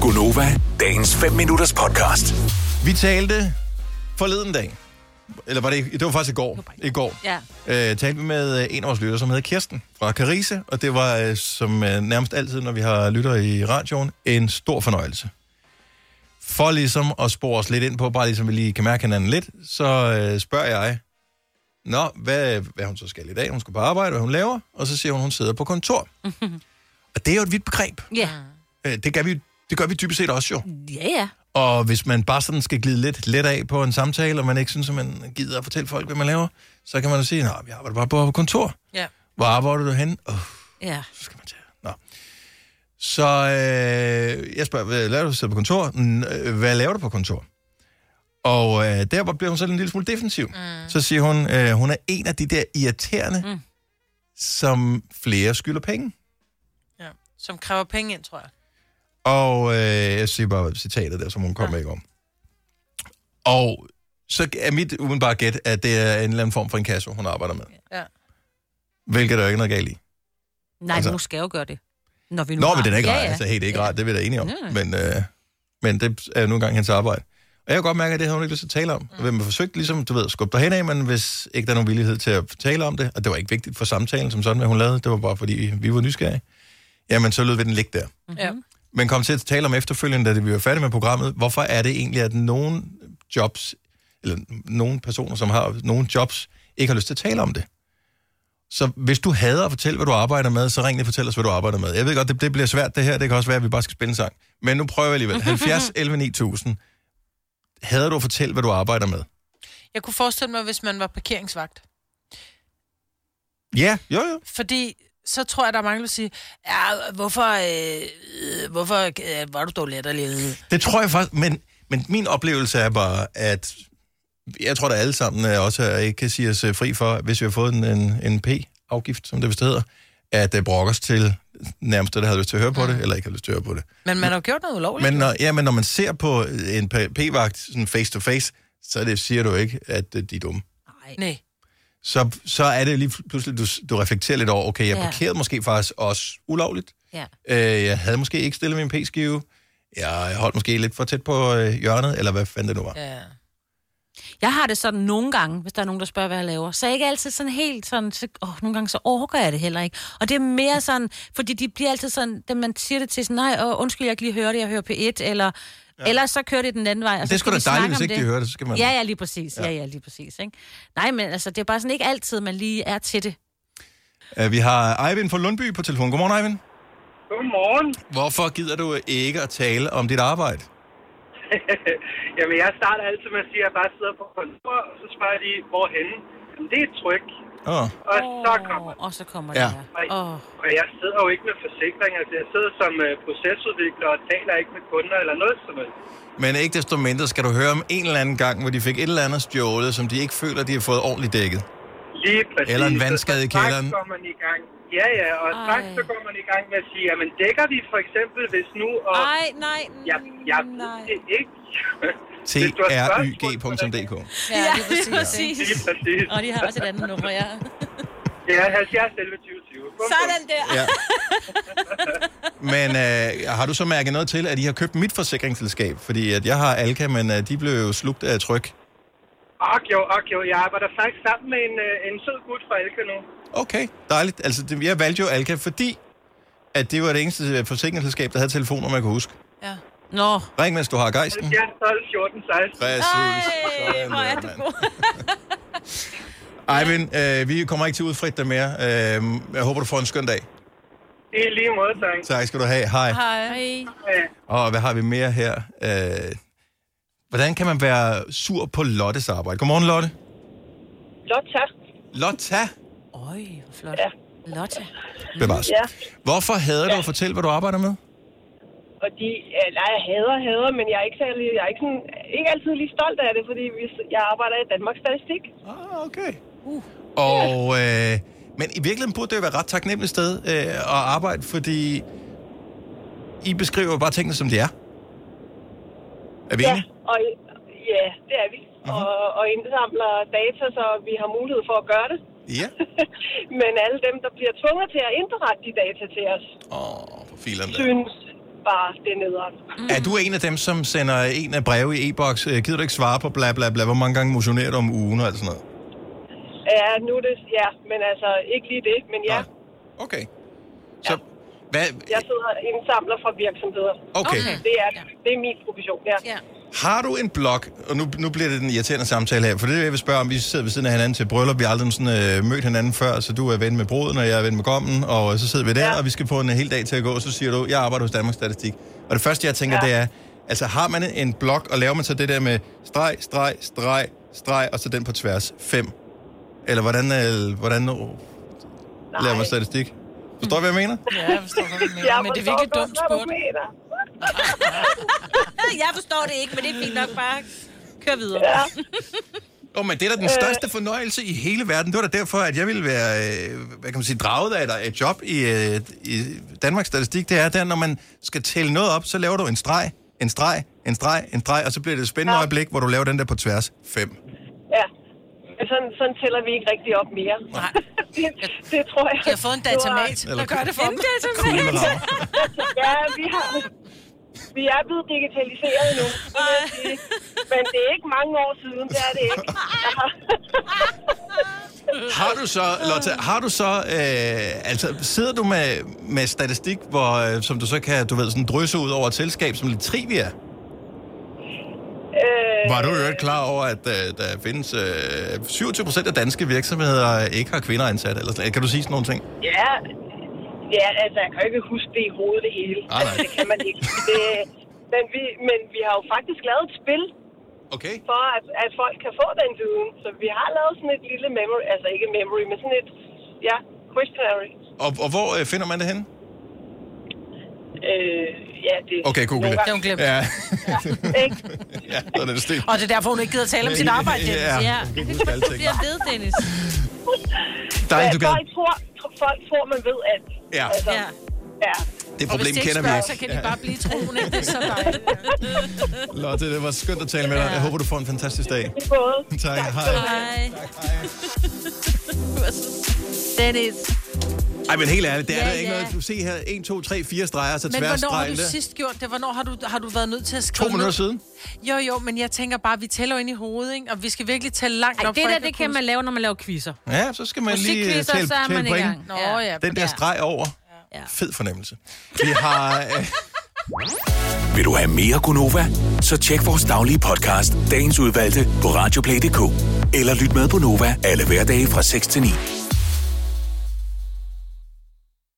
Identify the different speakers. Speaker 1: Gunova, dagens 5 minutters podcast.
Speaker 2: Vi talte forleden dag, eller var det, i- det var faktisk i går, i går
Speaker 3: Ja.
Speaker 2: øh, talte vi med øh, en af vores lytter, som hedder Kirsten fra Carise, og det var øh, som øh, nærmest altid, når vi har lytter i radioen, en stor fornøjelse. For ligesom at spore os lidt ind på, bare ligesom vi lige kan mærke hinanden lidt, så øh, spørger jeg, Nå, hvad, hvad hun så skal i dag? Hun skal på arbejde, hvad hun laver, og så siger hun, hun sidder på kontor. og det er jo et vidt begreb.
Speaker 3: Ja.
Speaker 2: Øh, det, gør vi, det gør vi dybest set også jo.
Speaker 3: Mm. Ja, ja.
Speaker 2: Og hvis man bare sådan skal glide lidt let af på en samtale, og man ikke synes, at man gider at fortælle folk, hvad man laver, så kan man jo sige, nej, jeg arbejder bare på kontor.
Speaker 3: Ja.
Speaker 2: Hvor arbejder du hen? Åh,
Speaker 3: Ja.
Speaker 2: så skal man tage. Nå. Så øh, jeg spørger, hvad laver du sidder på kontor? "Mm, øh, Hvad laver du på kontor? Og øh, der hvor bliver hun sådan en lille smule defensiv. Mm. Så siger hun, øh, hun er en af de der irriterende, mm. som flere skylder penge.
Speaker 4: Ja. Som kræver penge ind, tror jeg.
Speaker 2: Og øh, jeg siger bare citatet der, som hun kom ja. ikke om. Og så er mit udenbare gæt, at det er en eller anden form for en kasse, hun arbejder med.
Speaker 4: Ja.
Speaker 2: Hvilket der jo ikke er noget galt i.
Speaker 3: Nej,
Speaker 2: Altså-
Speaker 3: altså... nu skal jeg jo gøre det. Når vi nu
Speaker 2: Nå,
Speaker 3: har-
Speaker 2: men det er ikke
Speaker 3: ja,
Speaker 2: rart.
Speaker 3: Ja.
Speaker 2: Altså, hey, det er ikke rart, det er vi da enige om.
Speaker 3: Nej,
Speaker 2: Men, øh, men det er jo nu engang hendes arbejde. Og jeg kan godt mærke, at det har hun ikke lyst til at tale om. Mm. Man forsøgte ligesom, du ved, at skubbe dig henad, men hvis ikke der er nogen villighed til at tale om det, og det var ikke vigtigt for samtalen som sådan, hvad hun lavede, det var bare fordi, vi var nysgerrige, jamen så lød vi den ligge der.
Speaker 4: Ja.
Speaker 3: Mhm.
Speaker 2: Men kom til at tale om efterfølgende, da vi var færdige med programmet. Hvorfor er det egentlig, at nogle jobs, eller nogle personer, som har nogle jobs, ikke har lyst til at tale om det? Så hvis du hader at fortælle, hvad du arbejder med, så ring lige og fortæl os, hvad du arbejder med. Jeg ved godt, det, det bliver svært det her. Det kan også være, at vi bare skal spille en sang. Men nu prøver jeg alligevel. 70 11 9000. Hader du at fortælle, hvad du arbejder med?
Speaker 4: Jeg kunne forestille mig, hvis man var parkeringsvagt.
Speaker 2: Ja, jo jo.
Speaker 4: Fordi så tror jeg, der er mange, der vil sige, ja, hvorfor, øh, øh, hvorfor øh, var du dog latterlig?
Speaker 2: Det tror jeg faktisk, men, men min oplevelse er bare, at jeg tror, at alle sammen øh, også er- ikke kan sige os øh, fri for, hvis vi har fået en, en, en P-afgift, som det vist hedder, at det brokker os til nærmest det, der havde lyst til at høre på det, eller ikke har lyst til at høre på det.
Speaker 4: Men man har jo gjort noget ulovligt.
Speaker 2: Men når, ja, men når man ser på øh, en P- p-vagt sådan face to face, så det, siger du ikke, at øh, de er dumme.
Speaker 4: Nej.
Speaker 2: Så, så er det lige pludselig, du, du reflekterer lidt over, okay, jeg
Speaker 3: Ja.
Speaker 2: parkerede måske faktisk også ulovligt.
Speaker 3: ja.
Speaker 2: Øh, jeg havde måske ikke stillet min p-skive. Jeg holdt måske lidt for tæt på øh, hjørnet, eller hvad fanden det nu var.
Speaker 4: Ja.
Speaker 3: Jeg har det sådan nogle gange, hvis der er nogen, der spørger, hvad jeg laver. Så jeg er ikke altid sådan helt sådan, så, åh, nogle gange så overgår jeg det heller ikke. Og det er mere sådan, fordi de bliver altid sådan, da man siger det til sådan, nej, åh, undskyld, jeg kan lige høre det, jeg hører P1, eller... Ja. Ellers så kører det den anden vej. Og
Speaker 2: Men
Speaker 3: så
Speaker 2: det er sgu
Speaker 3: skal
Speaker 2: da
Speaker 3: vi snakke
Speaker 2: dejligt, hvis
Speaker 3: om
Speaker 2: ikke de hører det, så skal man...
Speaker 3: Ja, ja, lige præcis. Ja, ja, lige præcis. Ikke? Nej, men altså, det er bare sådan ikke altid, man lige er til det.
Speaker 2: Øh, Vi har Eivind fra Lundby på telefon. Godmorgen, Eivind.
Speaker 5: Godmorgen.
Speaker 2: Hvorfor gider du ikke at tale om dit arbejde?
Speaker 5: Jamen, jeg starter altid med at sige, at jeg bare sidder på kontor, og så spørger de, hvorhenne? Jamen, det er et tryk.
Speaker 2: Åh,
Speaker 5: Og så
Speaker 3: Åh,
Speaker 5: kommer
Speaker 3: Og så kommer
Speaker 2: Ja.
Speaker 3: det her. Åh.
Speaker 5: og jeg sidder jo ikke med forsikring, altså jeg sidder som øh, procesudvikler og taler ikke med kunder eller noget som helst.
Speaker 2: men ikke desto mindre skal du høre om en eller anden gang, hvor de fik et eller andet stjålet, som de ikke føler, de har fået ordentligt dækket.
Speaker 5: Lige præcis.
Speaker 2: Eller en vandskade i
Speaker 5: Så straks
Speaker 2: kælderen.
Speaker 5: går man i gang. Ja, ja, og
Speaker 3: Ej.
Speaker 5: straks så går man i gang med at sige, jamen dækker de for eksempel, hvis nu... Og
Speaker 3: Ej, nej,
Speaker 5: jeg, jeg ved
Speaker 3: nej.
Speaker 5: det ikke. Hvis du har spørgsmål, så ring.
Speaker 2: tryg.dk.
Speaker 4: Ja, det er præcis. Ja.
Speaker 5: Lige
Speaker 3: præcis.
Speaker 5: præcis.
Speaker 3: Og de har også et andet nummer, ja.
Speaker 5: Det er 70 11 20 20. Bum, bum.
Speaker 3: Sådan der.
Speaker 2: Ja. Men øh, har du så mærket noget til, at I har købt mit forsikringsselskab? Fordi at jeg har Alka, men øh, de blev jo slugt af tryk.
Speaker 5: Ok, jo, ok, jo. Jeg arbejder faktisk sammen med en, øh, en sød gut fra Elke nu.
Speaker 2: Okay, dejligt. Altså, det, jeg valgte jo Alka, fordi at det var det eneste øh, forsikringsselskab, der havde telefoner, man kunne huske.
Speaker 4: ja.
Speaker 3: Nå.
Speaker 2: Ring, mens du har
Speaker 6: Mm.
Speaker 2: gejsten.
Speaker 5: 70, 12, 14, 16.
Speaker 2: Præcis.
Speaker 3: Ej, hvor er du god.
Speaker 2: Eivind, øh, vi kommer ikke til at udfritte dig mere. Øh, jeg håber, du får en skøn dag.
Speaker 5: I lige måde, tak.
Speaker 6: Mm.
Speaker 2: Tak skal du have. Hej.
Speaker 4: Hej.
Speaker 5: Ja.
Speaker 2: Og hvad har vi mere her? Øh, hvordan kan man være sur på Lottes arbejde? Godmorgen, Lotte.
Speaker 6: Lotta.
Speaker 2: Lotta,
Speaker 3: Øj, hvor flot.
Speaker 6: Ja.
Speaker 3: Lotte.
Speaker 2: bevares.
Speaker 6: Ja,
Speaker 2: Hvorfor hader du at fortælle, hvad du arbejder med?
Speaker 6: og de, nej, jeg hader, hader, men jeg er ikke, særlig, jeg er ikke, sådan, ikke altid lige stolt af det, fordi vi, jeg arbejder i Danmarks Statistik.
Speaker 2: Ah, okay.
Speaker 6: Uh.
Speaker 2: Og, øh, men i virkeligheden burde det jo være et ret taknemmeligt sted øh, at arbejde, fordi I beskriver bare tingene, som de er. Er vi
Speaker 6: Ja,
Speaker 2: enige?
Speaker 6: og, ja det er vi.
Speaker 5: Mhm.
Speaker 6: Og, og indsamler data, så vi har mulighed for at gøre det.
Speaker 2: Ja.
Speaker 6: men alle dem, der bliver tvunget til at indberette de data til os,
Speaker 2: Åh, oh, for filen der.
Speaker 6: synes, bare det er nederen.
Speaker 2: Mm. Er du en af dem, som sender en af breve i e-boks? øh, Gider du ikke svare på bla bla bla? Hvor mange gange motionerer du om ugen og alt sådan noget?
Speaker 6: Ja, nu er det, ja, men altså ikke lige det, men ja,
Speaker 2: Nej. Okay. Så, hvad,
Speaker 6: jeg sidder og indsamler fra virksomheder.
Speaker 2: okay.
Speaker 3: Okay.
Speaker 2: okay.
Speaker 6: Det er,
Speaker 3: Ja.
Speaker 6: det er min profession, ja.
Speaker 3: Ja.
Speaker 2: Har du en blog, og nu, nu bliver det den irriterende samtale her, for det er det, jeg vil spørge om. Vi sidder ved siden af hinanden til bryllup, vi har aldrig sådan, øh, mødt hinanden før, så du er ven med bruden, og jeg er ven med gommen, og så sidder vi der, ja.
Speaker 6: Ja.
Speaker 2: og vi skal få en øh, hel dag til at gå, så siger du, jeg arbejder hos Danmarks Statistik. Og det første, jeg tænker, ja. det er, altså har man en blog, og laver man så det der med streg, streg, streg, streg, og så den på tværs, fem? Eller hvordan, øh, hvordan øh, laver man statistik? Forstår du, hvad jeg mener?
Speaker 4: Ja, jeg forstår godt, hvad du mener, men det er virkelig dumt spurgt.
Speaker 3: Jeg forstår det ikke, men det er fint nok bare. Kør videre. Ja.
Speaker 2: Åh, oh, men det er da den største fornøjelse i hele verden. Det var da derfor, at jeg ville være, øh, hvad kan man sige, draget af dig et job i, øh, i Danmarks Statistik. Det er der, når man skal tælle noget op, så laver du en streg, en streg, en streg, en streg, og så bliver det et spændende ja.
Speaker 6: Ja.
Speaker 2: øjeblik, hvor du laver den der på tværs. 5.
Speaker 6: Ja. Men sådan, sådan tæller vi ikke rigtig op mere.
Speaker 4: Nej.
Speaker 6: det, det tror jeg.
Speaker 4: Jeg har fået en
Speaker 6: Det var-
Speaker 4: datamat, der gør det for mig.
Speaker 6: Ja, vi har... Vi er blevet digitaliseret nu. det vil jeg sige. Men det er ikke mange år siden, det er det ikke. Jeg har-
Speaker 2: Har du så, Lotte, har du så, øh, altså sidder du med, med statistik, hvor, øh, som du så kan, du ved, sådan drysse ud over et selskab, som lidt trivia?
Speaker 6: Øh,
Speaker 2: Var du jo ikke klar over, at øh, der findes øh, 27 procent af danske virksomheder ikke har kvinder ansat? Eller sådan, kan du sige sådan nogle ting?
Speaker 6: Ja, ja, altså jeg kan jo ikke huske det i hovedet det hele.
Speaker 4: Ah,
Speaker 2: Nej, nej.
Speaker 6: Altså, det kan man ikke. Det, men, vi, men vi har jo faktisk lavet et spil
Speaker 2: Okay.
Speaker 6: for, at, at folk kan få den viden. Så vi har lavet sådan et lille memory, altså ikke memory, men sådan et, ja, questionary.
Speaker 2: Og, og hvor øh, finder man det henne?
Speaker 6: Øh, ja, det...
Speaker 2: Okay, Google
Speaker 6: nogle
Speaker 2: det.
Speaker 6: gange-
Speaker 4: Det er hun glemt.
Speaker 2: Ja,
Speaker 6: Ikke?
Speaker 2: ja så er det stil.
Speaker 4: Og det er derfor, hun ikke gider tale om sit arbejde. Dennis.
Speaker 2: Ja,
Speaker 3: Ja.
Speaker 2: du kan huske alting.
Speaker 3: Jeg ved, Dennis.
Speaker 2: Dejligt, du gad.
Speaker 6: folk, tror, tr- folk tror, man ved alt.
Speaker 2: Ja.
Speaker 6: Altså,
Speaker 3: Ja.
Speaker 6: ja.
Speaker 2: Det
Speaker 4: Og hvis
Speaker 2: problem
Speaker 4: de ikke
Speaker 2: kender vi
Speaker 4: spørger, så
Speaker 2: ikke.
Speaker 4: kan de bare blive troende. Det er så dejligt.
Speaker 2: Lotte, det var skønt at tale med dig. Jeg håber, du får en fantastisk dag.
Speaker 6: I både.
Speaker 2: Tak, hej.
Speaker 3: Hej. Du er så sød. Dennis.
Speaker 2: Ej, men helt ærligt, det er der
Speaker 3: Ja,
Speaker 2: ikke
Speaker 3: ja.
Speaker 2: noget. Du se her, 1, 2, 3, 4 streger, så
Speaker 4: Men
Speaker 2: tværs
Speaker 4: hvornår har
Speaker 2: stregen
Speaker 4: du
Speaker 2: der.
Speaker 4: sidst gjort det? Hvornår har du, har du været nødt til at skrive
Speaker 2: To minutter
Speaker 4: ned?
Speaker 2: siden.
Speaker 4: Jo, jo, men jeg tænker bare, vi tæller jo ind i hovedet, ikke? Og vi skal virkelig tælle langt
Speaker 3: Ej,
Speaker 4: nok.
Speaker 3: det
Speaker 4: for
Speaker 3: der,
Speaker 4: ikke
Speaker 3: det
Speaker 4: at
Speaker 3: kan
Speaker 4: kunne-
Speaker 3: man lave, når man laver quizzer.
Speaker 2: Ja, så skal man lige øh,
Speaker 3: Musikquizzer,
Speaker 2: tælle,
Speaker 3: så er man
Speaker 2: tælle
Speaker 3: i
Speaker 2: point.
Speaker 3: gang.
Speaker 4: Nå ja,
Speaker 2: Den der
Speaker 3: Ja.
Speaker 2: streg over.
Speaker 3: Ja.
Speaker 2: Fed fornemmelse. Vi har... Øh,
Speaker 1: Vil du have mere Gunova? Så tjek vores daglige podcast, dagens udvalgte, på radioplay.dk. Eller lyt med på Nova alle hverdage fra 6 til 9.